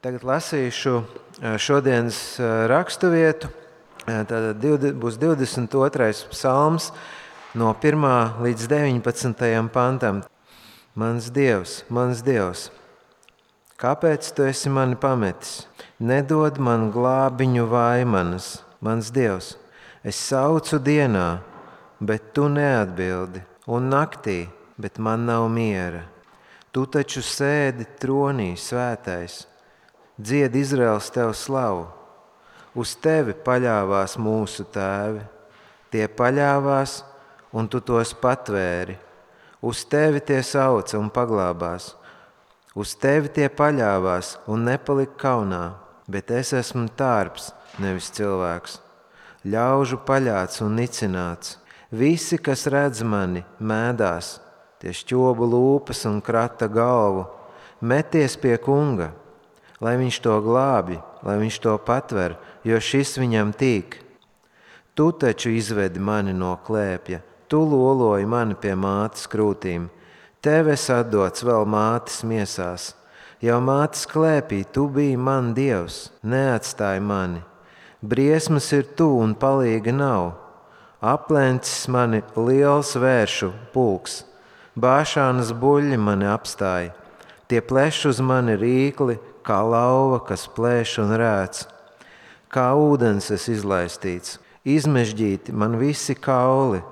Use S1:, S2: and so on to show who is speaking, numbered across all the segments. S1: Tagad lasīšu eh, šodienas eh, raksturvietu. Tad būs 22. psalms, no 1. līdz 19. pantam. Mans dievs, mans dievs, kāpēc tu esi mani pametis? Nedod man glābiņu vaimanas, mans dievs. Es saucu dienā, bet tu neatbildi, un naktī, bet man nav miera. Tu taču sēdi tronī, svētais, dzied Izraels tev slavu. Uz tevi paļāvās mūsu tēvi. Tie paļāvās, un tu tos patvēri. Uz tevi tie sauca un paglābās. Uz tevi tie paļāvās un nepalika kaunā, bet es esmu tārps, nevis cilvēks. Ļaužu paļāts un nicināts. Visi, kas redz mani, mēdās, tie šķoba lūpas un krata galvu, meties pie kunga, lai viņš to glābi, lai viņš to patver, jo šis viņam tīk. Tu taču izvedi mani no klēpja, tu loloji mani pie mātes krūtīm. Tev es atdots vēl mātes miesās, jau mātes klēpī tu biji man dievs, neatstāji mani. Briesmas ir tu un palīga nav. Aplencis mani liels vēršu pulks, bāšānas buļļi mani apstāja. Tie pleš uz mani rīkli, kā lauva, kas plēš un rēc. Kā ūdens es izlaistīts, izmežģīti man visi kauli,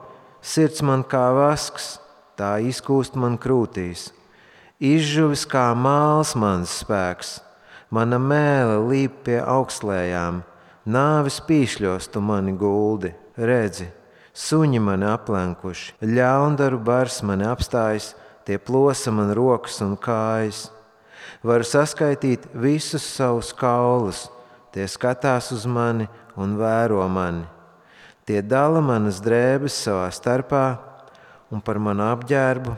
S1: sirds man kā vasks, tā izkūst man krūtīs. Izžuvis kā māls mans spēks, mana mēlē līp pie augstlējām, nāvis pīšļos tu mani guldi, redzi, suņi mani aplenkuši, ļaundaru bars mani apstājas, tie plosa man rokas un kājas varu saskaitīt visus savus kaulus. Tie skatās uz mani un vēro mani. Tie dala manas drēbes savā starpā un par manu apģērbu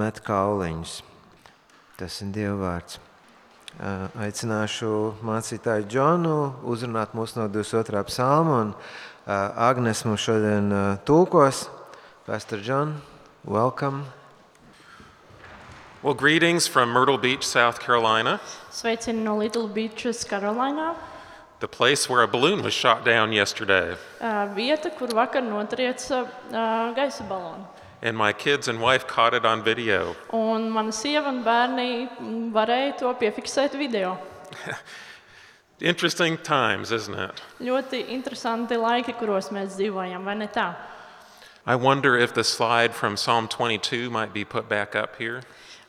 S1: met kauliņus. Tas ir Dieva vārds. Aicināšu mācītāju Džonu uzrunāt mūsu no 22. psalma un Agnes mums šodien tulkos. Pastor John, welcome.
S2: Well, greetings from Myrtle Beach, South Carolina,
S3: Sveicieni no Little Beaches, Karolīnā.
S2: the place where a balloon was shot down yesterday.
S3: Vieta, kur vakar notrieca ā, gaisa balonu.
S2: And my kids and wife caught it on video.
S3: Un mana sieva un bērni mm, varēja to piefiksēt video.
S2: Interesting times, isn't it?
S3: Ļoti interesanti laiki, kuros mēs dzīvojam, vai ne tā?
S2: I wonder if the slide from Psalm 22 might be put back up here.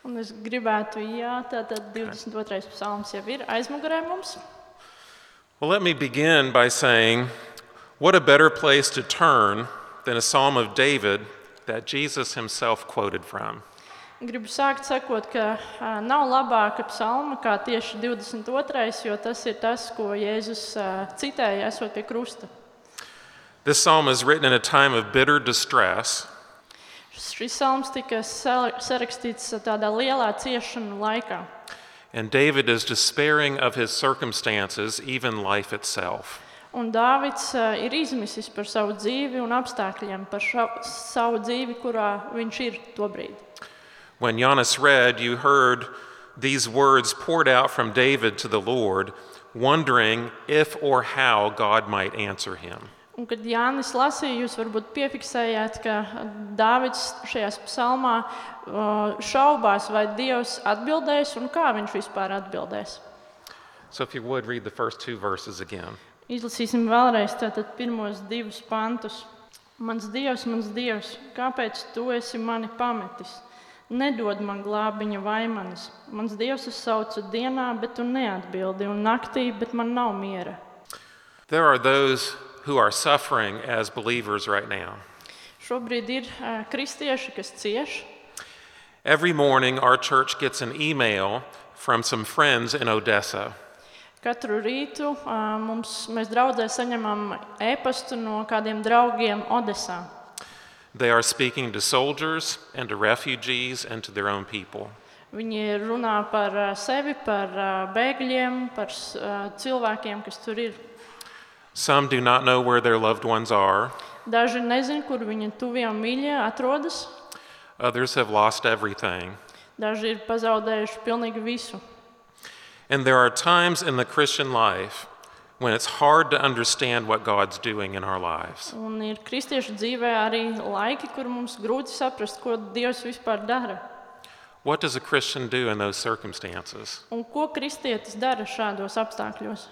S3: Un es gribētu, jā, tātad 22. psalms jau ir aizmugurē mums.
S2: Well, let me begin by saying what a better place to turn than a psalm of David that Jesus himself quoted from.
S3: Gribu sākt sakot, ka ā, nav labāka psalma kā tieši 22. jo tas ir tas, ko Jēzus ā, citēja, esot pie krusta.
S2: This psalm is written in a time of bitter distress,
S3: Šis salms tika sel- sarakstīts tādā lielā ciešanu laikā.
S2: and David is despairing of his circumstances, even life itself.
S3: Un Dāvids ā, ir izmisis par savu dzīvi un apstākļiem, par ša- savu dzīvi, kurā viņš ir tobrīd.
S2: When Giannis read, you heard these words poured out from David to the Lord, wondering if or how God might answer him.
S3: Un, kad Jānis lasīja, jūs varbūt piefiksējāt, ka Dāvids šajā psalmā ā, šaubās, vai Dievs atbildēs un kā viņš vispār atbildēs.
S2: So, if you would read the first two verses again.
S3: Izlasīsim vēlreiz tātad pirmos divus pantus. Mans dievs, mans dievs, kāpēc tu esi mani pametis? Nedod man glābiņa vaimanas. Mans dievs es saucu dienā, bet tu neatbildi, un naktī, bet man nav miera.
S2: There are those who are suffering as believers right now.
S3: Šobrīd ir uh, kristieši, kas cieš.
S2: Every morning, our church gets an email from some friends in Odessa.
S3: Katru rītu uh, mums, mēs draudzē saņemam e-pastu no kādiem draugiem Odesā.
S2: They are speaking to soldiers and to refugees and to their own people.
S3: Viņi runā par uh, sevi, par uh, bēgļiem, par s- uh, cilvēkiem, kas tur ir.
S2: Some do not know where their loved ones are,
S3: Daži nezina, kur viņa tuvie mīļie atrodas.
S2: others have lost everything.
S3: Daži ir pazaudējuši pilnīgi visu.
S2: And there are times in the Christian life when it's hard to understand what God's doing in our lives.
S3: Un ir kristiešu dzīvē arī laiki, kur mums grūti saprast, ko Dievs vispār dara.
S2: What does a Christian do in those circumstances?
S3: Un ko kristietis dara šādos apstākļos?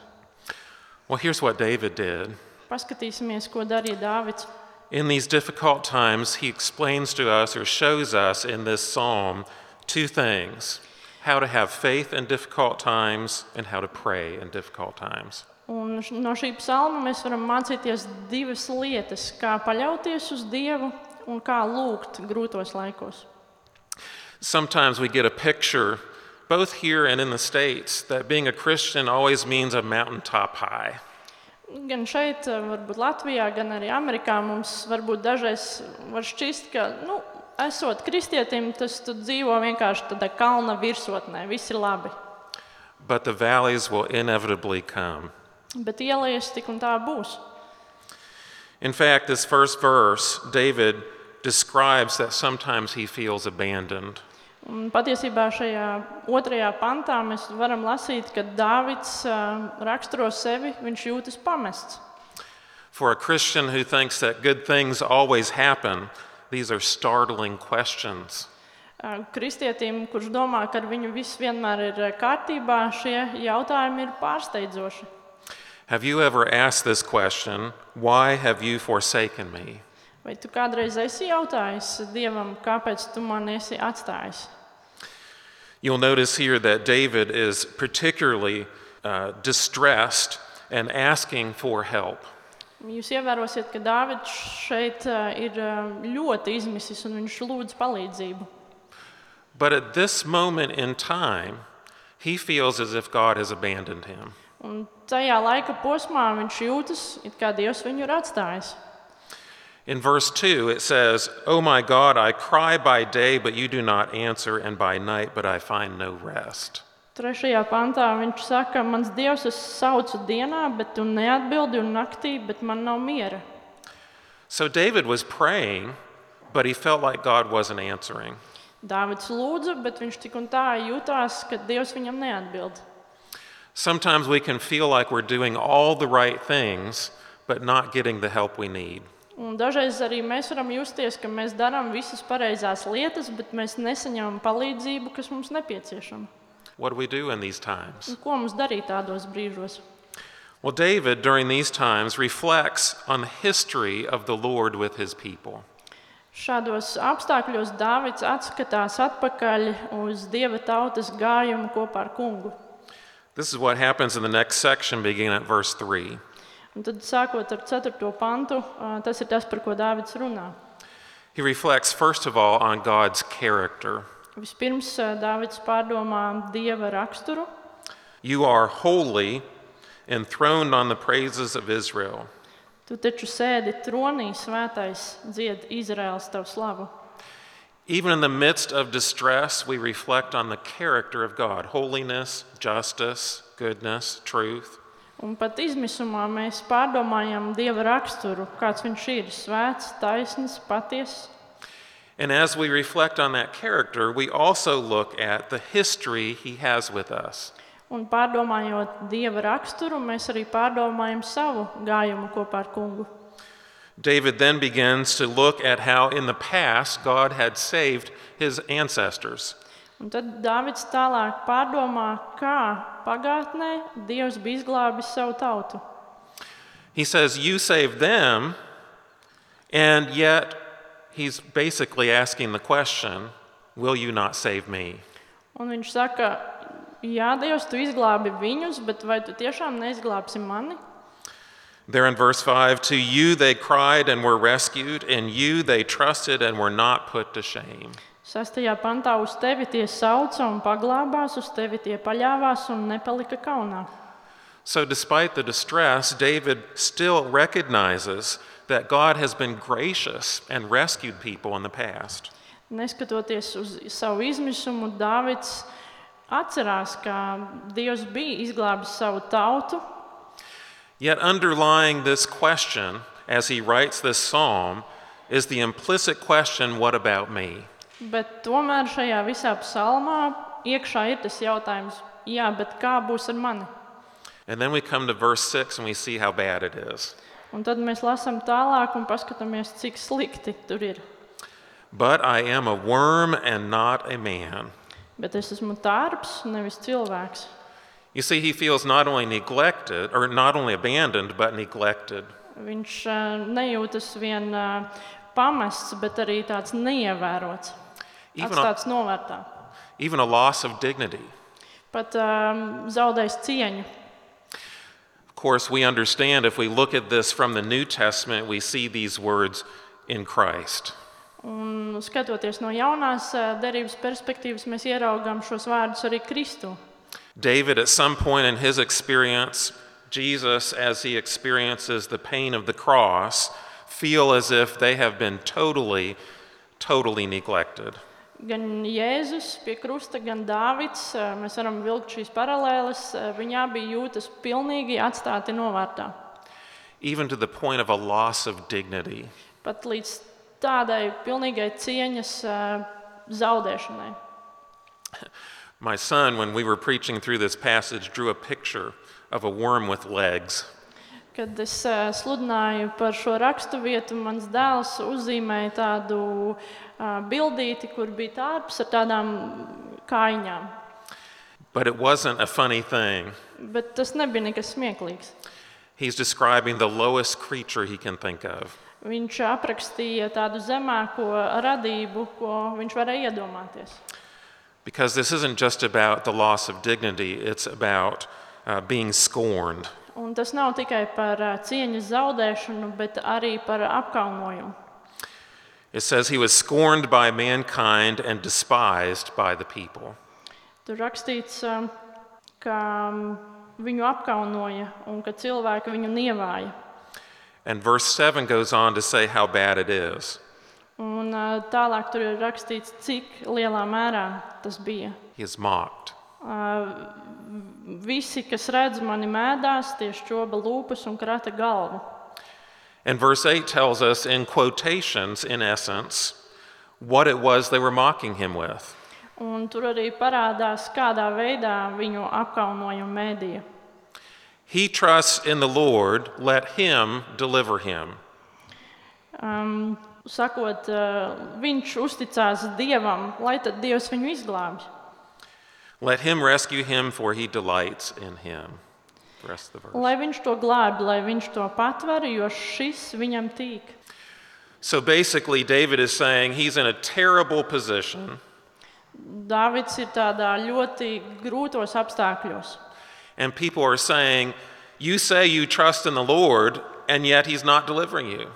S2: Well, here's what David did.
S3: Paskatīsimies, ko darīja Dāvids.
S2: In these difficult times, he explains to us or shows us in this psalm two things how to have faith in difficult times and how to pray in difficult times.
S3: Un š- no šī psalma mēs varam mācīties divas lietas - kā paļauties uz Dievu un kā lūgt grūtos laikos.
S2: Sometimes we get a picture, both here and in the States, that being a Christian always means a mountaintop high.
S3: Gan šeit, eh, varbūt Latvijā, gan arī Amerikā mums varbūt dažreiz var šķist, ka, nu, esot kristietim, tas tu dzīvo vienkārši tādā kalna virsotnē, viss ir labi.
S2: But the valleys will inevitably come.
S3: Bet ielējas tik un tā būs.
S2: In fact, this first verse, David describes that sometimes he feels abandoned.
S3: Un patiesībā šajā otrajā pantā mēs varam lasīt, ka Dāvids ā, raksturo sevi, viņš jūtas pamests.
S2: For a Christian who thinks that good things always happen, these are startling questions.
S3: Eh, Kristietim, kurš domā, ka ar viņu viss vienmēr ir eh, kārtībā, šie jautājumi ir pārsteidzoši.
S2: Have you ever asked this question, Why have you forsaken me?
S3: Vai tu kādreiz esi jautājis Dievam, kāpēc tu mani esi atstājis?
S2: You'll notice here that David is particularly uh, distressed and asking for help.
S3: Jūs ievērosiet, ka Dārvids šeit eh, ir eh, ļoti izmisis un viņš lūdz palīdzību.
S2: But at this moment in time, he feels as if God has abandoned him.
S3: Un tajā laika posmā viņš jūtas, it kā Dievs viņu ir atstājis.
S2: In verse 2, it says, Oh my God, I cry by day, but you do not answer, and by night, but I find no rest.
S3: Trešajā pantā viņš saka, mans dievs, es saucu dienā, bet tu neatbildi, un naktī, bet man nav miera.
S2: So David was praying, but he felt like God wasn't answering.
S3: Dāvids lūdza, bet viņš tik un tā jutās, ka dievs viņam neatbild.
S2: Sometimes we can feel like we're doing all the right things, but not getting the help we need.
S3: Un dažreiz arī mēs varam justies, ka mēs darām visas pareizās lietas, bet mēs nesaņemam palīdzību, kas mums nepieciešama.
S2: What do we do in these times?
S3: Un ko mums darīt tādos brīžos?
S2: Well, David, during these times, reflects on the history of the Lord with his people.
S3: Šādos apstākļos Dāvids atskatās atpakaļ uz dieva tautas gājumu kopā ar kungu.
S2: This is what happens in the next section, beginning at verse 3.
S3: Un tad, sākot ar 4. pantu, ā, tas ir tas, par ko Dārvids runā.
S2: He reflects, first of all, on God's character.
S3: Vispirms ā, Dārvids pārdomā dieva raksturu.
S2: You are holy, enthroned on the praises of Israel.
S3: Tu taču sēdi tronī, svētais dzied Izraels tavu slavu.
S2: Even in the midst of distress, we reflect on the character of God holiness, justice, goodness, truth.
S3: Un pat izmisumā mēs pārdomājam dieva raksturu, kāds viņš ir. Svēts, taisns, patiess.
S2: And as we reflect on that character, we also look at the history he has with us.
S3: Un pārdomājot dieva raksturu, mēs arī pārdomājam savu gājumu kopā ar kungu.
S2: David then begins to look at how in the past God had saved his ancestors.
S3: Un tad Dārvids tālāk pārdomā, kā pagātnē Dievs bija izglābis savu tautu.
S2: He says, You saved them, and yet he's basically asking the question, Will you not save me?
S3: Un viņš saka, Jā, Dievs, tu izglābi viņus, bet vai tu tiešām neizglābsi mani?
S2: There in verse 5 To you they cried and were rescued, in you they trusted and were not put to shame.
S3: Sastajā pantā uz tevi tie sauca un paglābās, uz tevi tie paļāvās un nepalika kaunā.
S2: So, despite the distress, David still recognizes that God has been gracious and rescued people in the past.
S3: Neskatoties uz savu izmisumu, Dārvids atcerās, ka Dievs bija izglābis savu tautu.
S2: Yet, underlying this question as he writes this psalm is the implicit question, What about me?
S3: Bet tomēr šajā visā psalmā iekšā ir tas jautājums, jā, bet kā būs ar mani?
S2: And then we come to verse 6 and we see how bad it is.
S3: Un tad mēs lasām tālāk un paskatāmies, cik slikti tur ir.
S2: But I am a worm and not a man.
S3: Bet es esmu tārps, nevis cilvēks.
S2: You see, he feels not only neglected, or not only abandoned, but neglected.
S3: Viņš eh, nejūtas vien eh, pamests, bet arī tāds neievērots,
S2: Even a,
S3: atstāts novērtā.
S2: even a loss of dignity.
S3: Pat um, zaudējis cieņu.
S2: Of course, we understand if we look at this from the New Testament, we see these words in Christ.
S3: Un skatoties no jaunās eh, derības perspektīvas, mēs ieraugām šos vārdus arī Kristu.
S2: David, at some point in his experience, Jesus, as he experiences the pain of the cross, feel as if they have been totally, totally neglected.
S3: Gan Jēzus pie krusta, gan Dārvids, eh, mēs varam vilkt šīs paralēles. eh, Viņi abi jūtas pilnīgi atstāti novārtā.
S2: even to the point of a loss of dignity.
S3: Pat līdz tādai pilnīgai cieņas eh, zaudēšanai.
S2: My son, when we were preaching through this passage, drew a picture of a worm with legs.
S3: Kad es eh, sludināju par šo raksturvietu, mans dēls uzzīmēja tādu eh, bildīti, kur bija tārps ar tādām kājām.
S2: But it wasn't a funny thing.
S3: Bet tas nebija nekas smieklīgs.
S2: He's describing the lowest creature he can think of.
S3: Viņš aprakstīja tādu zemāko radību, ko viņš varēja iedomāties.
S2: Because this isn't just about the loss of dignity, it's about uh, being scorned.
S3: Un tas nav tikai par ā, cieņas zaudēšanu, bet arī par apkaunojumu.
S2: It says he was scorned by mankind and despised by the people.
S3: Tur rakstīts, ā, ka mm, viņu apkaunoja un ka cilvēki viņu nievāja.
S2: And verse 7 goes on to say how bad it is.
S3: Un ā, tālāk tur ir rakstīts, cik lielā mērā tas bija.
S2: He is mocked,
S3: Visi, kas redz mani mēdās, tieši čoba lūpas un krata galvu.
S2: And verse 8 tells us, in quotations, in essence, what it was they were mocking him with.
S3: Un tur arī parādās, kādā veidā viņu apkaunoja un mēdīja.
S2: He trusts in the Lord, let him deliver him.
S3: Um, sakot, uh, viņš uzticās Dievam, lai tad Dievs viņu izglābj.
S2: Let him rescue him, for he delights in him. The rest of the verse.
S3: Lai viņš to glābj, lai viņš to patver, jo šis viņam tīk.
S2: So basically, David is saying he's in a terrible position,
S3: Dāvids ir tādā ļoti grūtos apstākļos.
S2: and people are saying, You say you trust in the Lord, and yet he's not delivering you.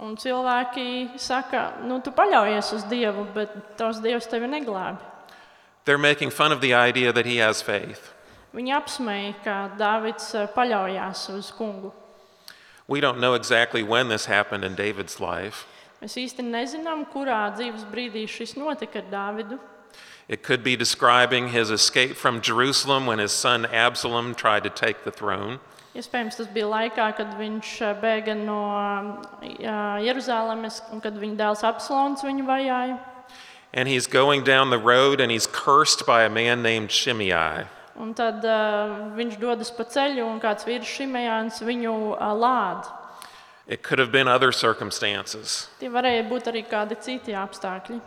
S3: Un cilvēki saka, nu, tu paļaujies uz Dievu, bet tavs Dievs tevi neglābj.
S2: They're making fun of the idea that he has faith.
S3: Viņi apsmēja, ka Dāvids eh, paļaujās uz kungu.
S2: We don't know exactly when this happened in David's life.
S3: Mēs īsti nezinām, kurā dzīves brīdī šis notika ar Dāvidu.
S2: It could be describing his escape from Jerusalem when his son Absalom tried to take the throne.
S3: Iespējams, tas bija laikā, kad viņš eh, bēga no eh, Jeruzalemes un kad viņa dēls Absalons viņu vajāja.
S2: And he's going down the road and he's cursed by a man named Shimei.
S3: Un tad eh, viņš dodas pa ceļu un kāds vīrs Šimejāns viņu eh, lād.
S2: It could have been other circumstances.
S3: Tie varēja būt arī kādi citi apstākļi.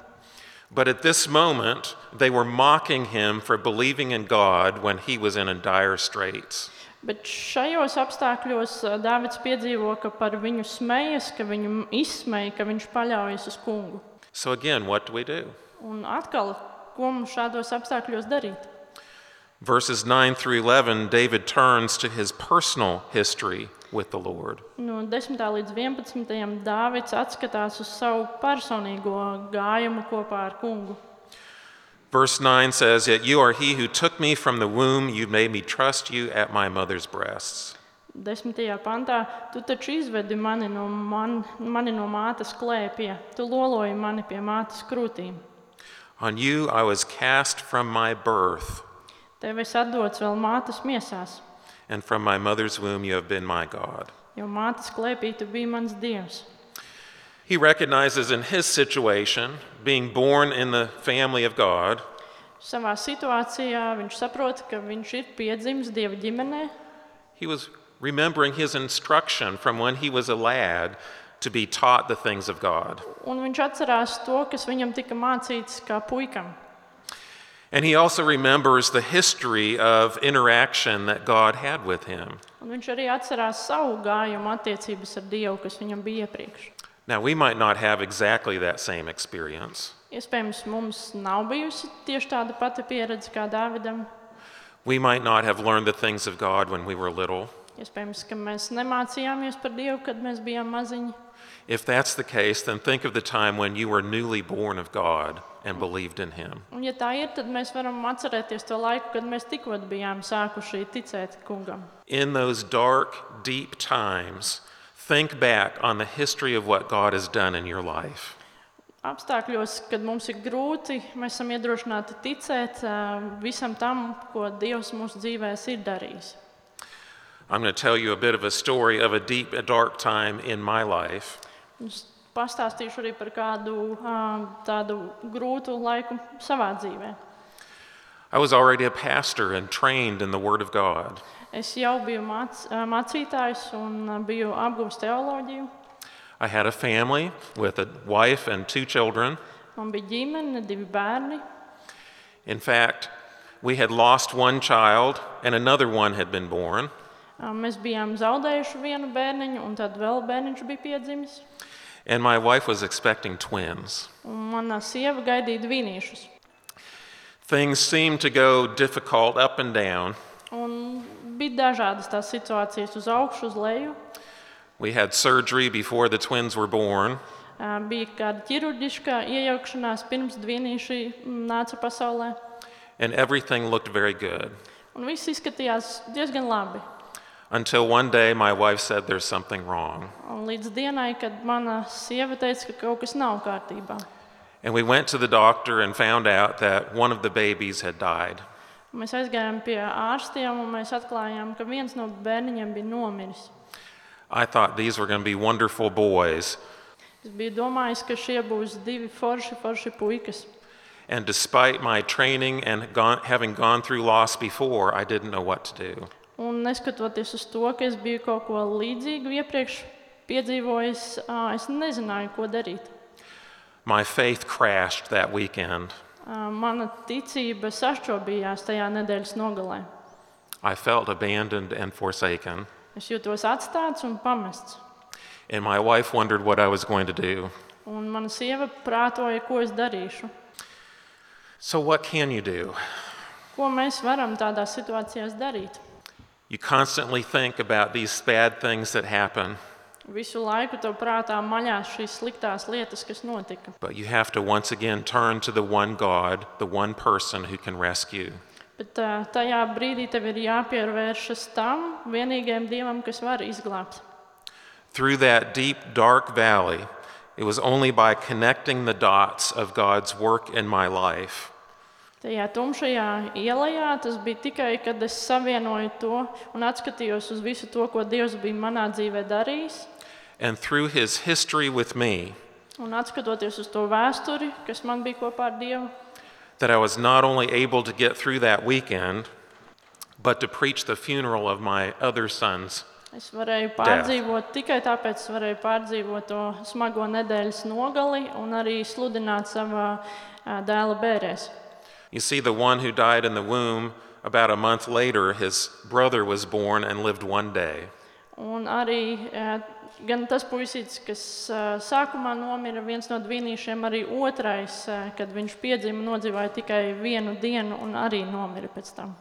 S2: But at this moment, they were mocking him for believing in God when he was in a dire straits.
S3: Bet šajos apstākļos eh, Dāvids piedzīvo, ka par viņu smejas, ka viņu izsmeja, ka viņš paļaujas uz kungu.
S2: So, again, what do we do?
S3: Un atkal, ko mums šādos apstākļos darīt?
S2: Verses 9 through 11, David turns to his personal history with the Lord.
S3: No 10. Nu, līdz 11. Dāvids atskatās uz savu personīgo gājumu kopā ar kungu.
S2: Verse 9 says, Yet you are he who took me from the womb, you made me trust you at my mother's breasts.
S3: 10. pantā, tu taču izvedi mani no, man, mani no mātes klēpja, tu loloji mani pie mātes krūtīm.
S2: On you I was cast from my birth,
S3: Tev es atdots vēl mātes miesās,
S2: and from my mother's womb you have been my God.
S3: jo mātes klēpī tu biji mans dievs.
S2: He recognizes in his situation, being born in the family of God,
S3: Savā situācijā viņš saprot, ka viņš ir piedzimis dieva ģimenē.
S2: He was remembering his instruction from when he was a lad to be taught the things of God.
S3: Un viņš atcerās to, kas viņam tika mācīts kā puikam.
S2: And he also remembers the history of interaction that God had with him.
S3: Un viņš arī atcerās savu gājumu attiecības ar Dievu, kas viņam bija iepriekš.
S2: Now, we might not have exactly that same experience.
S3: Iespējams, mums nav bijusi tieši tāda pati pieredze kā Dāvidam.
S2: We might not have learned the things of God when we were little.
S3: Iespējams, ka mēs nemācījāmies par Dievu, kad mēs bijām maziņi.
S2: If that's the case, then think of the time when you were newly born of God and believed in Him.
S3: Un, ja tā ir, tad mēs varam atcerēties to laiku, kad mēs tikko bijām sākuši ticēt kungam.
S2: In those dark, deep times, think back on the history of what God has done in your life.
S3: Apstākļos, kad mums ir grūti, mēs esam iedrošināti ticēt ā, visam tam, ko Dievs mūsu dzīvēs ir darījis.
S2: I'm going to tell you a bit of a story of a deep, a dark time in my life.
S3: Es pastāstīšu arī par kādu ā, tādu grūtu laiku savā dzīvē.
S2: I was already a pastor and trained in the Word of God.
S3: Es jau biju māc, ā, mācītājs un ā, biju apguvis teoloģiju.
S2: I had a family with a wife and two children.
S3: Man bija ģimene, divi bērni.
S2: In fact, we had lost one child and another one had been born.
S3: Ā, Mēs bijām zaudējuši vienu bērniņu, un tad vēl bērniņš bija piedzimis.
S2: And my wife was expecting twins.
S3: Un Mana sieva gaidīja divīniešus.
S2: Things seemed to go difficult up and down.
S3: Un bija dažādas tās situācijas, uz augšu, uz leju.
S2: We had surgery before the twins were born.
S3: Ā, Bija kāda ķirurģiskā iejaukšanās pirms dvīnīši nāca pasaulē.
S2: and everything looked very good
S3: Un viss izskatījās diezgan labi.
S2: until one day my wife said there's something wrong.
S3: Un līdz dienai, kad mana sieva teica, ka kaut kas nav kārtībā.
S2: And we went to the doctor and found out that one of the babies had died.
S3: Mēs aizgājām pie ārstiem un mēs atklājām, ka viens no bērniņiem bija nomiris.
S2: I thought these were going to be wonderful boys,
S3: Es biju domājis, ka šie būs divi forši, forši puikas.
S2: and despite my training and gone, having gone through loss before, I didn't know what to do.
S3: Un neskatoties uz to, ka es biju kaut ko līdzīgu iepriekš piedzīvojis, ā, es nezināju, ko darīt.
S2: My faith crashed that weekend.
S3: Ā, Mana ticība sašķobījās tajā nedēļas nogalē.
S2: I felt abandoned and forsaken,
S3: Es jutos atstāts un pamests.
S2: and my wife wondered what I was going to do.
S3: Un mana sieva prātoja, ko es darīšu.
S2: So, what can you do?
S3: Ko mēs varam tādās situācijās darīt?
S2: You constantly think about these bad things that happen.
S3: Visu laiku tev prātā maļās šīs sliktās lietas, kas notika.
S2: But you have to once again turn to the one God, the one person who can rescue.
S3: Bet ā, tajā brīdī tev ir jāpievēršas tam vienīgajam dievam, kas var izglābt.
S2: Through that deep, dark valley, it was only by connecting the dots of God's work in my life
S3: Tajā tumšajā ielā tas bija tikai, kad es savienoju to un atskatījos uz visu to, ko Dievs bija manā dzīvē darījis.
S2: and through his history with me
S3: Un atskatoties uz to vēsturi, kas man bija kopā ar Dievu,
S2: that I was not only able to get through that weekend, but to preach the funeral of my other sons.
S3: es varēju pārdzīvot tikai tāpēc, es varēju pārdzīvot to smago nedēļas nogali un arī sludināt savā ā, dēla bērēs.
S2: You see, the one who died in the womb, about a month later, his brother was born and lived one day.
S3: Un arī ā, gan tas puisītis, kas ā, sākumā nomira viens no dvīnīšiem, arī otrais, ā, kad viņš piedzima, nodzīvoja tikai vienu dienu un arī nomira pēc tam.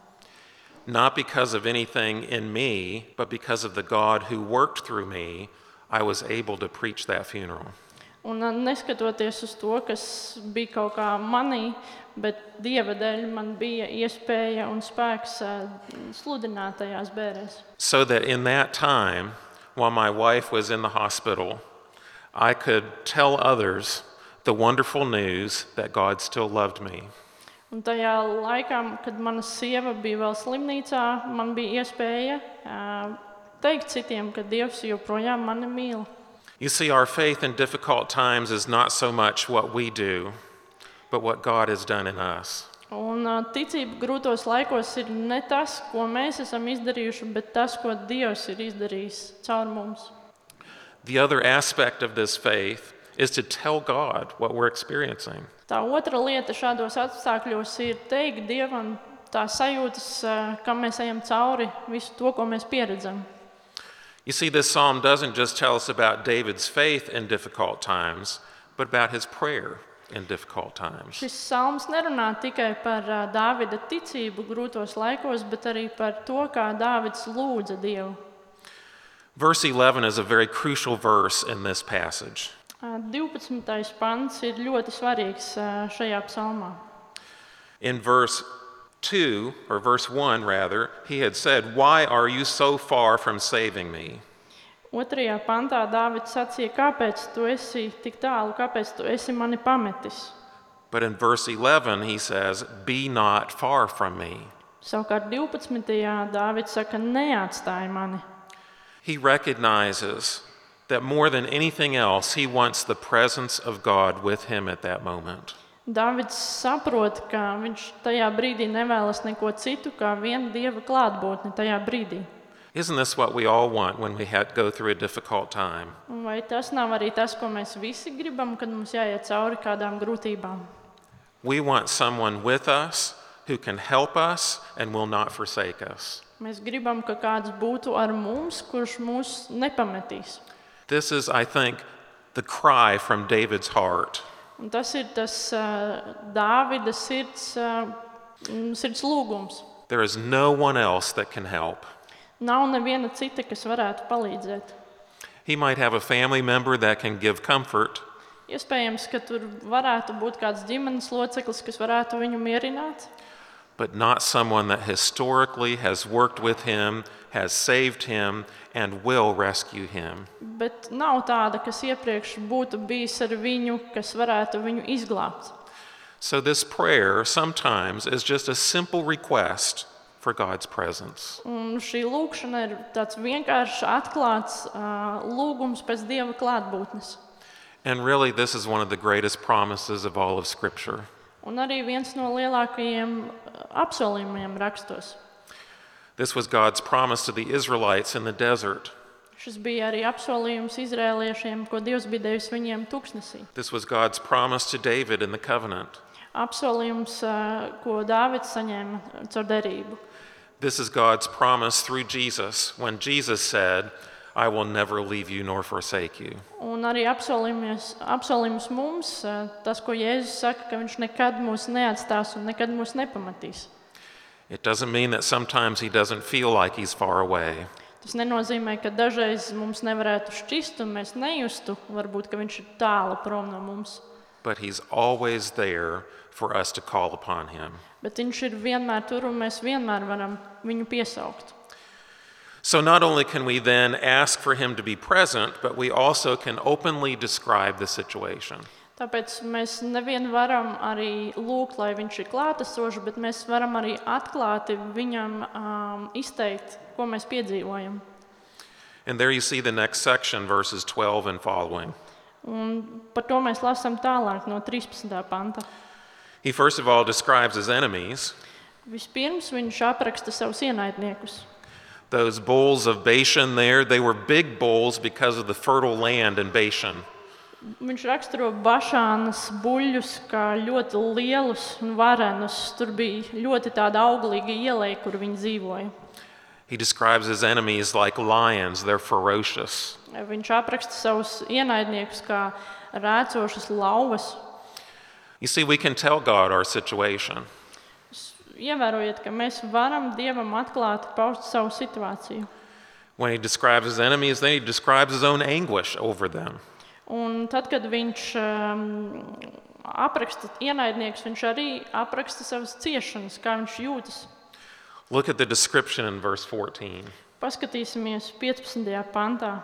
S2: Not because of anything in me, but because of the God who worked through me, I was able to preach that funeral.
S3: Un ā, neskatoties uz to, kas bija kaut kā manī, bet dieva dēļ man bija iespēja un spēks ā, sludināt tajās bērēs.
S2: So that in that time, while my wife was in the hospital, I could tell others the wonderful news that God still loved me.
S3: Un tajā laikā, kad mana sieva bija vēl slimnīcā, man bija iespēja ā, teikt citiem, ka Dievs joprojām mani mīl.
S2: You see, our faith in difficult times is not so much what we do, but what God has done in us.
S3: Un ā, ticība grūtos laikos ir ne tas, ko mēs esam izdarījuši, bet tas, ko Dievs ir izdarījis caur mums.
S2: The other aspect of this faith is to tell God what we're experiencing.
S3: Tā otra lieta šādos apstākļos ir teikt Dievam tās sajūtas, ā, kam mēs ejam cauri, visu to, ko mēs pieredzam.
S2: You see, this psalm doesn't just tell us about David's faith in difficult times, but about his prayer in difficult times.
S3: Šis psalms nerunā tikai par ā, Dāvida ticību grūtos laikos, bet arī par to, kā Dāvids lūdza Dievu.
S2: Verse 11 is a very crucial verse in this passage.
S3: Ā, 12. pants ir ļoti svarīgs ā, šajā psalmā.
S2: In verse 2, or verse 1 rather, he had said, Why are you so far from saving me?
S3: Otrajā pantā Dāvids sacīja, kāpēc tu esi tik tālu, kāpēc tu esi mani pametis.
S2: But in verse 11, he says, Be not far from me.
S3: Savukārt 12. Dāvids saka, neatstāj mani.
S2: He recognizes that more than anything else, he wants the presence of God with him at that moment.
S3: Dāvids saprot, ka viņš tajā brīdī nevēlas neko citu, kā vien dieva klātbūtni tajā brīdī.
S2: Isn't this what we all want when we ha go through a difficult time?
S3: Un Vai tas nav arī tas, ko mēs visi gribam, kad mums jāiet cauri kādām grūtībām?
S2: We want someone with us who can help us and will not forsake us.
S3: Mēs gribam, ka kāds būtu ar mums, kurš mūs nepametīs.
S2: This is, I think, the cry from David's heart.
S3: Un tas ir tas ā, Dāvida sirds, ā, mm, sirds lūgums.
S2: There is no one else that can help.
S3: Nav neviena cita, kas varētu palīdzēt.
S2: He might have a family member that can give comfort,
S3: Iespējams, ka tur varētu būt kāds ģimenes loceklis, kas varētu viņu mierināt,
S2: but not someone that historically has worked with him, has saved him, and will rescue him.
S3: bet nav tāda, kas iepriekš būtu bijis ar viņu, kas varētu viņu izglābt.
S2: So, this prayer sometimes is just a simple request for God's presence.
S3: Un šī lūkšana ir tāds vienkāršs, atklāts ā, lūgums pēc dieva klātbūtnes.
S2: And really, this is one of the greatest promises of all of Scripture.
S3: Un arī viens no lielākajiem ā, apsolījumiem rakstos.
S2: This was God's promise to the Israelites in the desert.
S3: Šis bija arī apsolījums izrēliešiem, ko Dievs bija devis viņiem tūkstnesī.
S2: This was God's promise to David in the covenant.
S3: Apsolījums, ā, ko Dāvids saņēma caur derību.
S2: This is God's promise through Jesus when Jesus said, I will never leave you nor forsake you.
S3: Un arī apsolījumies- apsolījums mums, ā, tas, ko Jēzus saka, ka viņš nekad mūs neatstās un nekad mūs nepamatīs.
S2: It doesn't mean that sometimes he doesn't feel like he's far away,
S3: Tas nenozīmē, ka dažreiz mums nevarētu šķist, un mēs nejustu, varbūt, ka viņš ir tālu prom no mums.
S2: but he's always there for us to call upon him.
S3: Bet viņš ir vienmēr tur, un mēs vienmēr varam viņu piesaukt.
S2: So not only can we then ask for him to be present, but we also can openly describe the situation.
S3: Tāpēc mēs nevienu varam arī lūgt, lai viņš ir klātesošs, bet mēs varam arī atklāti viņam um, izteikt, ko mēs piedzīvojam.
S2: And there you see the next section, verses 12 and following.
S3: Un par to mēs lasām tālāk no 13. panta.
S2: He first of all describes his enemies,
S3: Vispirms viņš apraksta savus ienaidniekus.
S2: those bowls of Bashan there. They were big bowls because of the fertile land in Bashan.
S3: Viņš raksturo bašānas buļļus kā ļoti lielus un varenus. Tur bija ļoti tāda auglīga ielēja, kur viņi dzīvoja.
S2: He describes his enemies like lions, they're ferocious.
S3: Viņš apraksta savus ienaidniekus kā rēcošas lauvas.
S2: You see, we can tell God our situation.
S3: Ievērojiet, ka mēs varam Dievam atklāti paust savu situāciju.
S2: When he describes his enemies, then he describes his own anguish over them.
S3: Un tad, kad viņš um, apraksta ienaidniekus, viņš arī apraksta savas ciešanas, kā viņš jūtas.
S2: Look at the description in verse 14.
S3: Paskatīsimies 15. pantā.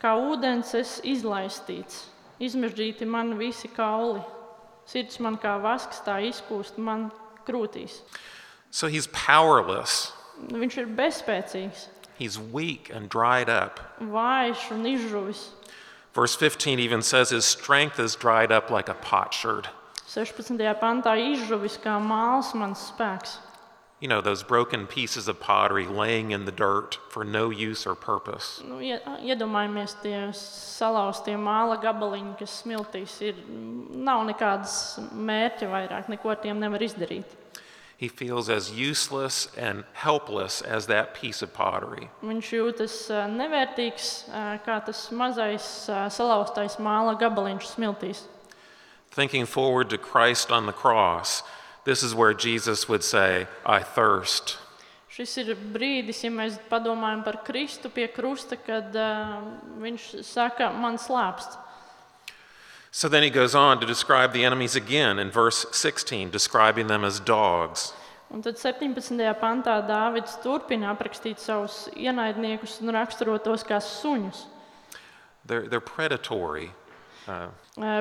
S3: Kā ūdens es izlaistīts, izmežģīti man visi kauli. Sirds man kā vasks, tā izkūst man krūtīs.
S2: So he's powerless,
S3: Viņš ir bezspēcīgs,
S2: he's weak and dried up.
S3: vājš un izžuvis.
S2: Verse 15 even says his strength is dried up like a potsherd.
S3: 16. pantā izžuvis kā māls mans spēks.
S2: You know, those broken pieces of pottery laying in the dirt for no use or purpose.
S3: Nu, ie- iedomājamies, tie salauztie māla gabaliņi, kas smiltīs, ir, nav nekādas mērķa vairāk, neko ar tiem nevar izdarīt.
S2: He feels as useless and helpless as that piece of pottery.
S3: Viņš jūtas ā, nevērtīgs, ā, kā tas mazais ā, salauztais māla gabaliņš smiltīs.
S2: Thinking forward to Christ on the cross, this is where Jesus would say, I thirst.
S3: Šis ir brīdis, ja mēs padomājam par Kristu pie krusta, kad uh, viņš saka, man slāpst.
S2: So then he goes on to describe the enemies again in verse 16, describing them as dogs.
S3: Un tad 17. pantā Dāvids turpina aprakstīt savus ienaidniekus un raksturotos kā suņus.
S2: They're, they're predatory
S3: Ā,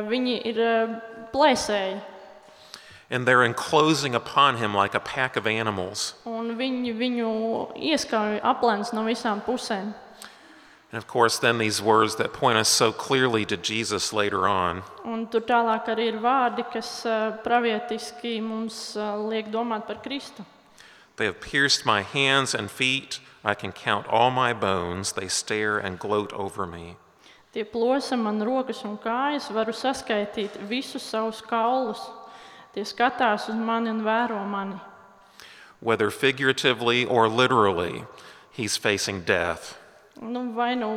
S3: Viņi ir ā, plēsēji,
S2: and they're enclosing upon him like a pack of animals.
S3: un viņi viņu ieskauj aplēns no visām pusēm.
S2: And of course, then these words that point us so clearly to Jesus later on.
S3: Un tur tālāk arī ir vārdi, kas ā, pravietiski mums ā, liek domāt par Kristu.
S2: They have pierced my hands and feet. I can count all my bones. They stare and gloat over me.
S3: Tie plosa man rokas un kājas, varu saskaitīt visus savus kaulus. Tie skatās uz mani un vēro mani.
S2: Whether figuratively or literally, he's facing death.
S3: Nu, vai nu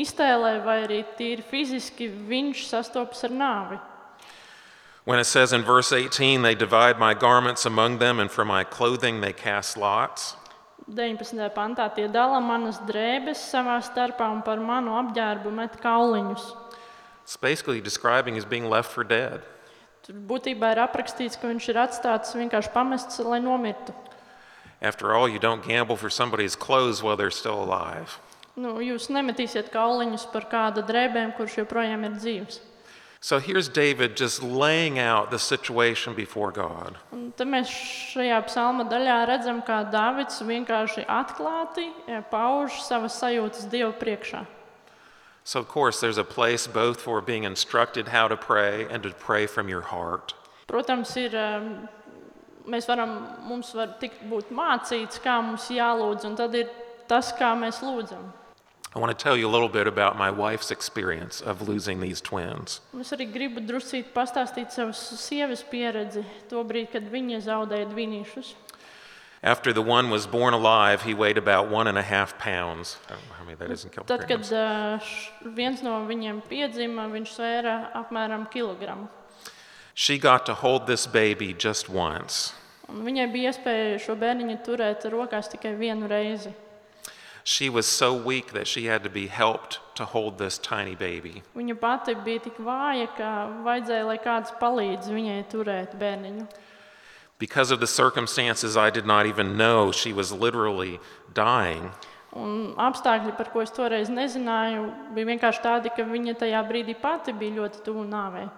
S3: iztēlē, vai arī tīri fiziski viņš sastopas ar nāvi.
S2: When it says in verse 18, they divide my garments among them, and for my clothing they cast lots,
S3: 19. pantā tie dala manas drēbes savā starpā un par manu apģērbu met kauliņus.
S2: it's basically describing as being left for dead.
S3: Tur būtībā ir aprakstīts, ka viņš ir atstāts vienkārši pamests, lai nomirtu.
S2: After all, you don't gamble for somebody's clothes while they're still alive.
S3: Nu, jūs nemetīsiet kauliņus par kādu drēbēm, kurš joprojām ir dzīves.
S2: So here's David just laying out the situation before God.
S3: Un te mēs šajā psalma daļā redzam, kā Dārvids vienkārši atklāti eh, pauž savas sajūtas Dievu priekšā.
S2: So, of course, there's a place both for being instructed how to pray and to pray from your heart.
S3: Protams, ir, em, mēs varam, mums var tikt būt mācīts, kā mums jālūdz, un tad ir tas, kā mēs lūdzam.
S2: I want to tell you a little bit about my wife's experience of losing these twins.
S3: Un Es arī gribu drusīt pastāstīt savas sievas pieredzi, tobrīd, kad viņa zaudēja dvinīšus.
S2: After the one was born alive, he weighed about one and a half pounds. Oh, I don't know how many that is in
S3: Tad, kad
S2: kilograms.
S3: eh, š- viens no viņiem piedzima, viņš svēra apmēram kilogramu.
S2: She got to hold this baby just once.
S3: Un viņai bija iespēja šo bērniņu turēt rokās tikai vienu reizi.
S2: She was so weak that she had to be helped to hold this tiny baby.
S3: Viņa pati bija tik vāja, ka vajadzēja, lai kāds palīdz viņai turēt bērniņu.
S2: Because of the circumstances, I did not even know she was literally dying.
S3: Un apstākļi, par ko es toreiz nezināju, bija vienkārši tādi, ka viņa tajā brīdī pati bija ļoti tuvu nāvei.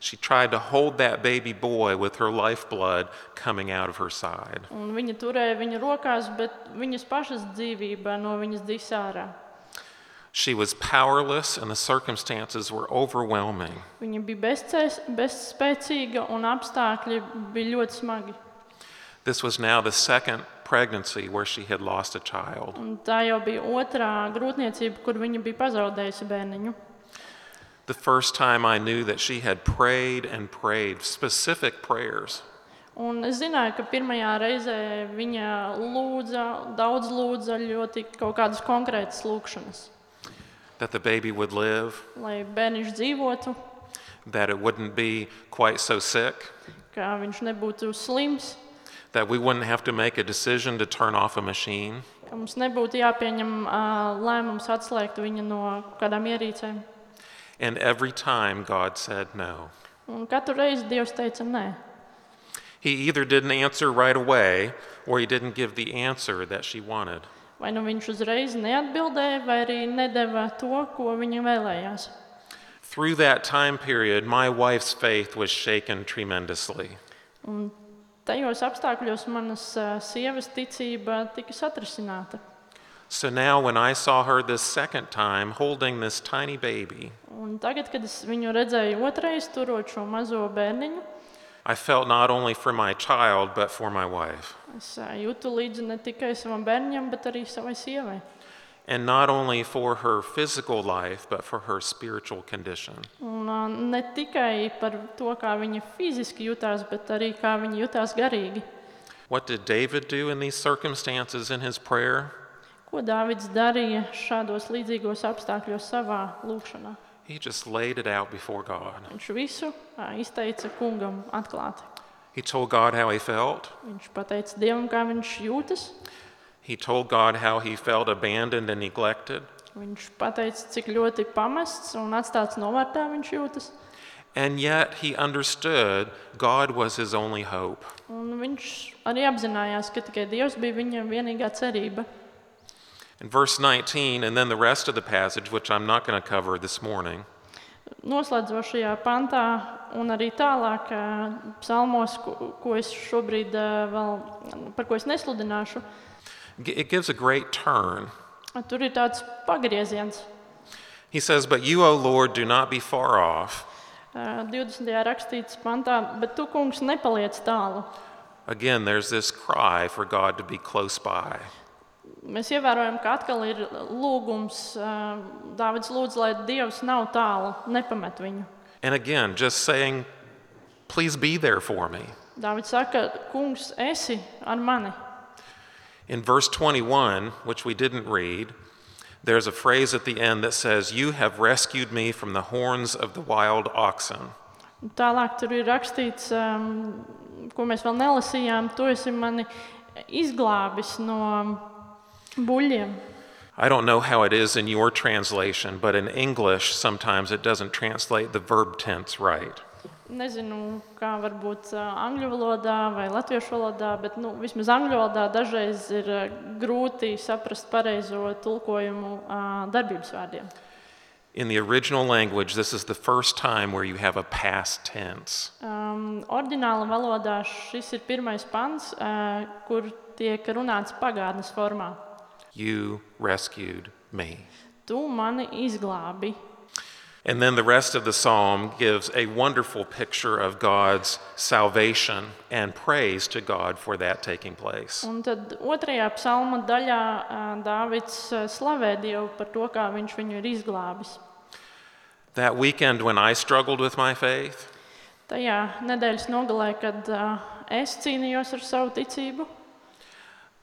S2: She tried to hold that baby boy with her lifeblood coming out of her side.
S3: Un viņa turēja viņu rokās, bet viņas pašas dzīvība no viņas dzīs ārā.
S2: She was powerless, and the circumstances were overwhelming.
S3: Viņa bija bezcēs- bezspēcīga un apstākļi bija ļoti smagi.
S2: This was now the second pregnancy where she had lost a child.
S3: Un tā jau bija otrā grūtniecība, kur viņa bija pazaudējusi bērniņu.
S2: The first time I knew that she had prayed and prayed specific prayers.
S3: Un es zināju, ka pirmajā reizē viņa lūdza, daudz lūdza, ļoti kaut kādas konkrētas lūkšanas,
S2: that the baby would live,
S3: lai bērniņš dzīvotu,
S2: that it wouldn't be quite so sick,
S3: ka viņš nebūtu slims,
S2: that we wouldn't have to make a decision to turn off a machine,
S3: ka mums nebūtu jāpieņem ā, lēmums atslēgt viņu no kādām ierīcēm.
S2: and every time God said no.
S3: Un katru reizi Dievs teica, nē,
S2: He either didn't answer right away or he didn't give the answer that she wanted.
S3: vai nu viņš uzreiz neatbildēja, vai arī nedēva to, ko viņa vēlējās.
S2: Through that time period, my wife's faith was shaken tremendously.
S3: Tajos apstākļos manas ā, sievas ticība tika satrisināta.
S2: So now, when I saw her this second time holding this tiny baby,
S3: Un tagad, kad es viņu redzēju otrais, turot šo mazo bērniņu,
S2: I felt not only for my child, but for my wife.
S3: Es ā, jūtu līdzi ne tikai savam bērnam, bet arī savai sievai.
S2: And not only for her physical life, but for her spiritual condition.
S3: Un, ā, ne tikai par to, kā viņa fiziski jutās, bet arī kā viņa jutās garīgi.
S2: What did David do in these circumstances in his prayer?
S3: Ko Dārvids darīja šādos līdzīgos apstākļos savā lūkšanā?
S2: He just laid it out before God.
S3: Viņš visu ā, izteica kungam atklāti.
S2: He told God how he felt.
S3: Viņš pateica Dievam, kā viņš jūtas.
S2: He told God how he felt abandoned and neglected.
S3: Viņš pateica, cik ļoti pamests un atstāts novārtā viņš jūtas.
S2: And yet he understood God was his only hope.
S3: Un viņš arī apzinājās, ka tikai Dievs bija viņa vienīgā cerība.
S2: In verse 19, and then the rest of the passage, which I'm not going to cover this morning,
S3: Noslēdzošajā pantā, un arī tālāk, ā, psalmos, ko, ko es šobrīd ā, vēl par ko es nesludināšu,
S2: g- it gives a great turn.
S3: tur ir tāds pagrieziens.
S2: He says, But you, O Lord, do not be far off.
S3: Ā, 20. rakstīts pantā, bet tu, kungs, nepaliec tālu.
S2: Again, there's this cry for God to be close by.
S3: Mēs ievērojam, ka atkal ir lūgums, ā, Dāvids lūdz, lai Dievs nav tālu, nepamet viņu.
S2: And again, just saying, Please be there for me.
S3: Dāvids saka, kungs, esi ar mani.
S2: In verse 21, which we didn't read, there's a phrase at the end that says, You have rescued me from the horns of the wild oxen.
S3: Un Tālāk tur ir rakstīts, um, ko mēs vēl nelasījām. Tu esi mani izglābis no buļļiem.
S2: I don't know how it is in your translation, but in English, sometimes it doesn't translate the verb tense right.
S3: Nezinu, kā varbūt ā, angļu valodā vai latviešu valodā, bet nu, vismaz angļu valodā dažreiz ir ā, grūti saprast pareizo tulkojumu ā, darbības vārdiem.
S2: In the original language, this is the first time where you have a past tense.
S3: Um, Ordināla valodā šis ir pirmais pants, ā, kur tiek runāts pagātnes formā.
S2: You rescued me.
S3: Tu mani izglābi.
S2: And then the rest of the psalm gives a wonderful picture of God's salvation and praise to God for that taking place.
S3: Un tad otrajā psalma daļā ā, Dāvids ā, slavē Dievu par to, kā viņš viņu ir izglābis.
S2: That weekend when I struggled with my faith,
S3: Tajā nedēļas nogalē, kad ā, es cīnījos ar savu ticību,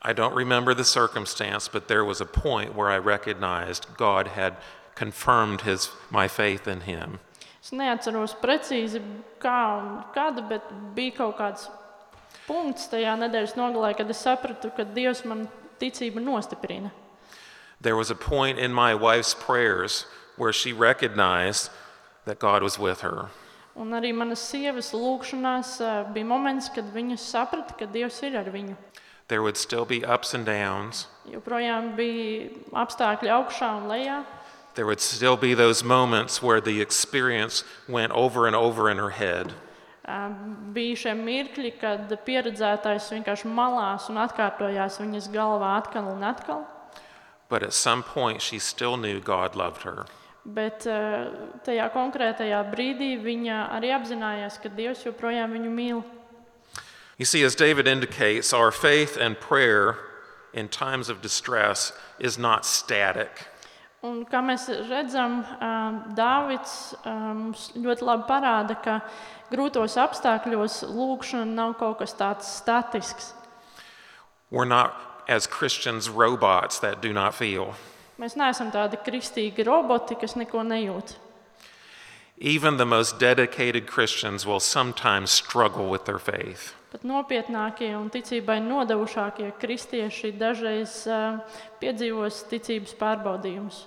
S2: I don't remember the circumstance, but there was a point where I recognized God had confirmed his my faith in him.
S3: es neatceros precīzi, kā un kāda, bet bija kaut kāds punkts tajā nedēļas nogalē, kad es sapratu, ka Dievs man ticību nostiprina.
S2: There was a point in my wife's prayers where she recognized that God was with her.
S3: Un arī manas sievas lūgšanās ā, bija moments, kad viņa saprata, ka Dievs ir ar viņu.
S2: There would still be ups and downs.
S3: Joprojām bija apstākļi augšā un lejā.
S2: There would still be those moments where the experience went over and over in her head.
S3: Um, Bija šie mirkļi, kad pieredzētājs vienkārši malās un atkārtojās viņas galvā atkal un atkal.
S2: But at some point, she still knew God loved her.
S3: Bet eh, tajā konkrētajā brīdī viņa arī apzinājās, ka Dievs joprojām viņu mīl.
S2: You see, as David indicates, our faith and prayer in times of distress is not static.
S3: Un, kā mēs redzam, eh, Dāvids eh, mums ļoti labi parāda, ka grūtos apstākļos lūkšana nav kaut kas tāds statisks.
S2: We're not, as Christians, robots that do not feel.
S3: Mēs neesam tādi kristīgi roboti, kas neko nejūt.
S2: Even the most dedicated Christians will sometimes struggle with their faith.
S3: Pat nopietnākie un ticībai nodevušākie kristieši dažreiz eh, piedzīvos ticības pārbaudījumus.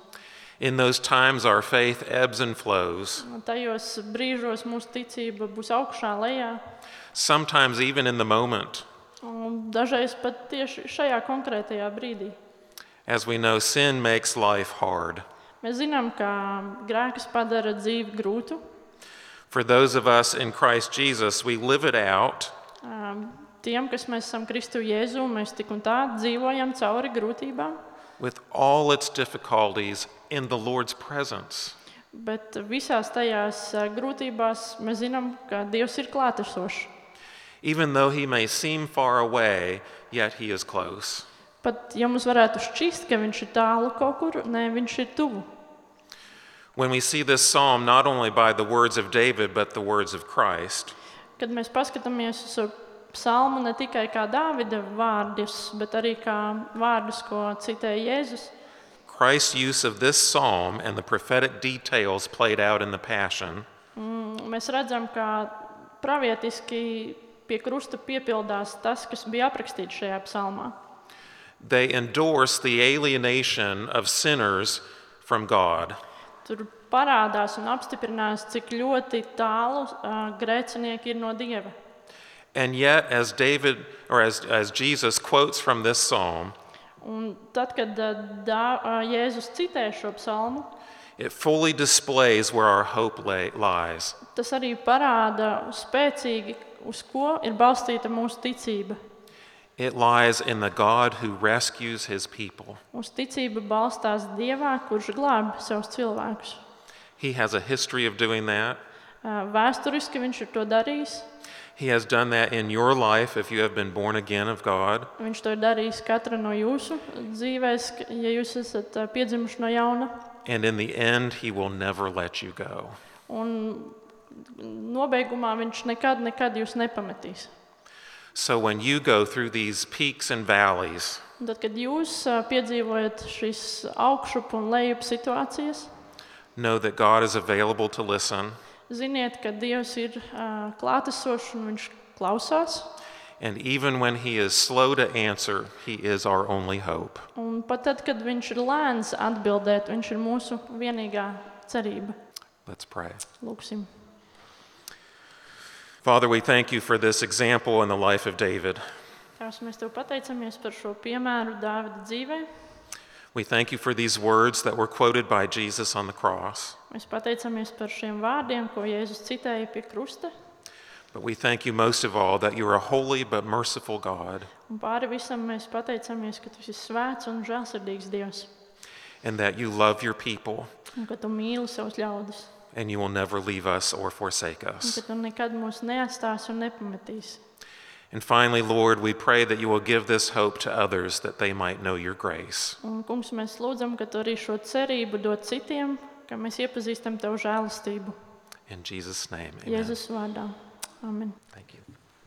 S2: In those times, our faith ebbs and flows.
S3: Un Tajos brīžos mūsu ticība būs augšā, lejā.
S2: Sometimes, even in the moment,
S3: un Dažreiz pat tieši šajā konkrētajā brīdī.
S2: as we know, sin makes life hard.
S3: Mēs zinām, ka grēkas padara dzīvi grūtu.
S2: For those of us in Christ Jesus, we live it out
S3: Um, Tiem, kas mēs esam Kristu Jēzu, mēs tik un tā dzīvojam cauri grūtībām,
S2: with all its difficulties in the Lord's presence.
S3: bet visās tajās eh, grūtībās mēs zinām, ka Dievs ir klātesošs.
S2: Even though he may seem far away, yet he is close.
S3: Pat ja mums varētu šķist, ka viņš ir tālu kaut kur, nē, viņš ir tuvu.
S2: When we see this psalm not only by the words of David, but the words of Christ,
S3: Kad mēs paskatāmies uz šo psalmu ne tikai kā Dāvida vārdus, bet arī kā vārdus, ko citēja Jēzus,
S2: Christ's use of this psalm and the prophetic details played out in the Passion
S3: mm, mēs redzam, ka pravietiski pie krusta piepildās tas, kas bija aprakstīts šajā psalmā.
S2: they endorse the alienation of sinners from God.
S3: Tur parādās un apstiprinās, cik ļoti tālu ā, grēcinieki ir no Dieva.
S2: And yet, as David or as, as Jesus quotes from this psalm,
S3: Un tad, kad ā, Dā, ā, Jēzus citē šo psalmu,
S2: it fully displays where our hope lay, lies.
S3: tas arī parāda spēcīgi, uz ko ir balstīta mūsu ticība.
S2: It lies in the God who rescues his people.
S3: Mūsu ticība balstās Dievā, kurš glāb savus cilvēkus.
S2: He has a history of doing that.
S3: Ā, Vēsturiski viņš ir to darījis.
S2: He has done that in your life if you have been born again of God.
S3: Viņš to ir darījis katra no jūsu dzīvēs, k- ja jūs esat ā, piedzimuši no jauna.
S2: And in the end, he will never let you go.
S3: Un nobeigumā viņš nekad, nekad jūs nepametīs.
S2: So when you go through these peaks and valleys,
S3: Un Tad, kad jūs ā, piedzīvojat šīs augšup un lejup situācijas,
S2: know that God is available to listen.
S3: ziniet, ka Dievs ir ā, klātesošs un Viņš klausās.
S2: And even when he is slow to answer, he is our only hope.
S3: Un pat tad, kad Viņš ir lēns atbildēt, Viņš ir mūsu vienīgā cerība.
S2: Let's pray.
S3: Lūksim.
S2: Father, we thank you for this example in the life of David.
S3: Tās mēs tev pateicamies par šo piemēru Dāvida dzīvē.
S2: We thank you for these words that were quoted by Jesus on the cross.
S3: Mēs pateicamies par šiem vārdiem, ko Jēzus citēja pie krusta.
S2: But we thank you most of all that you are a holy but merciful God,
S3: Un pāri visam mēs pateicamies, ka tu esi svēts un žēlsirdīgs Dievs.
S2: and that you love your people,
S3: Un ka tu mīli savus ļaudis.
S2: and you will never leave us or forsake
S3: Un
S2: us.
S3: ka tu nekad mūs neatstāsi un nepametīsi.
S2: And finally, Lord, we pray that you will give this hope to others that they might know your grace.
S3: Un, kungs, mēs lūdzam, ka tu arī šo cerību dod citiem, ka mēs iepazīstam tevu žēlastību.
S2: In Jesus' name, amen.
S3: Jēzus vārdā. Amen.
S2: Thank you.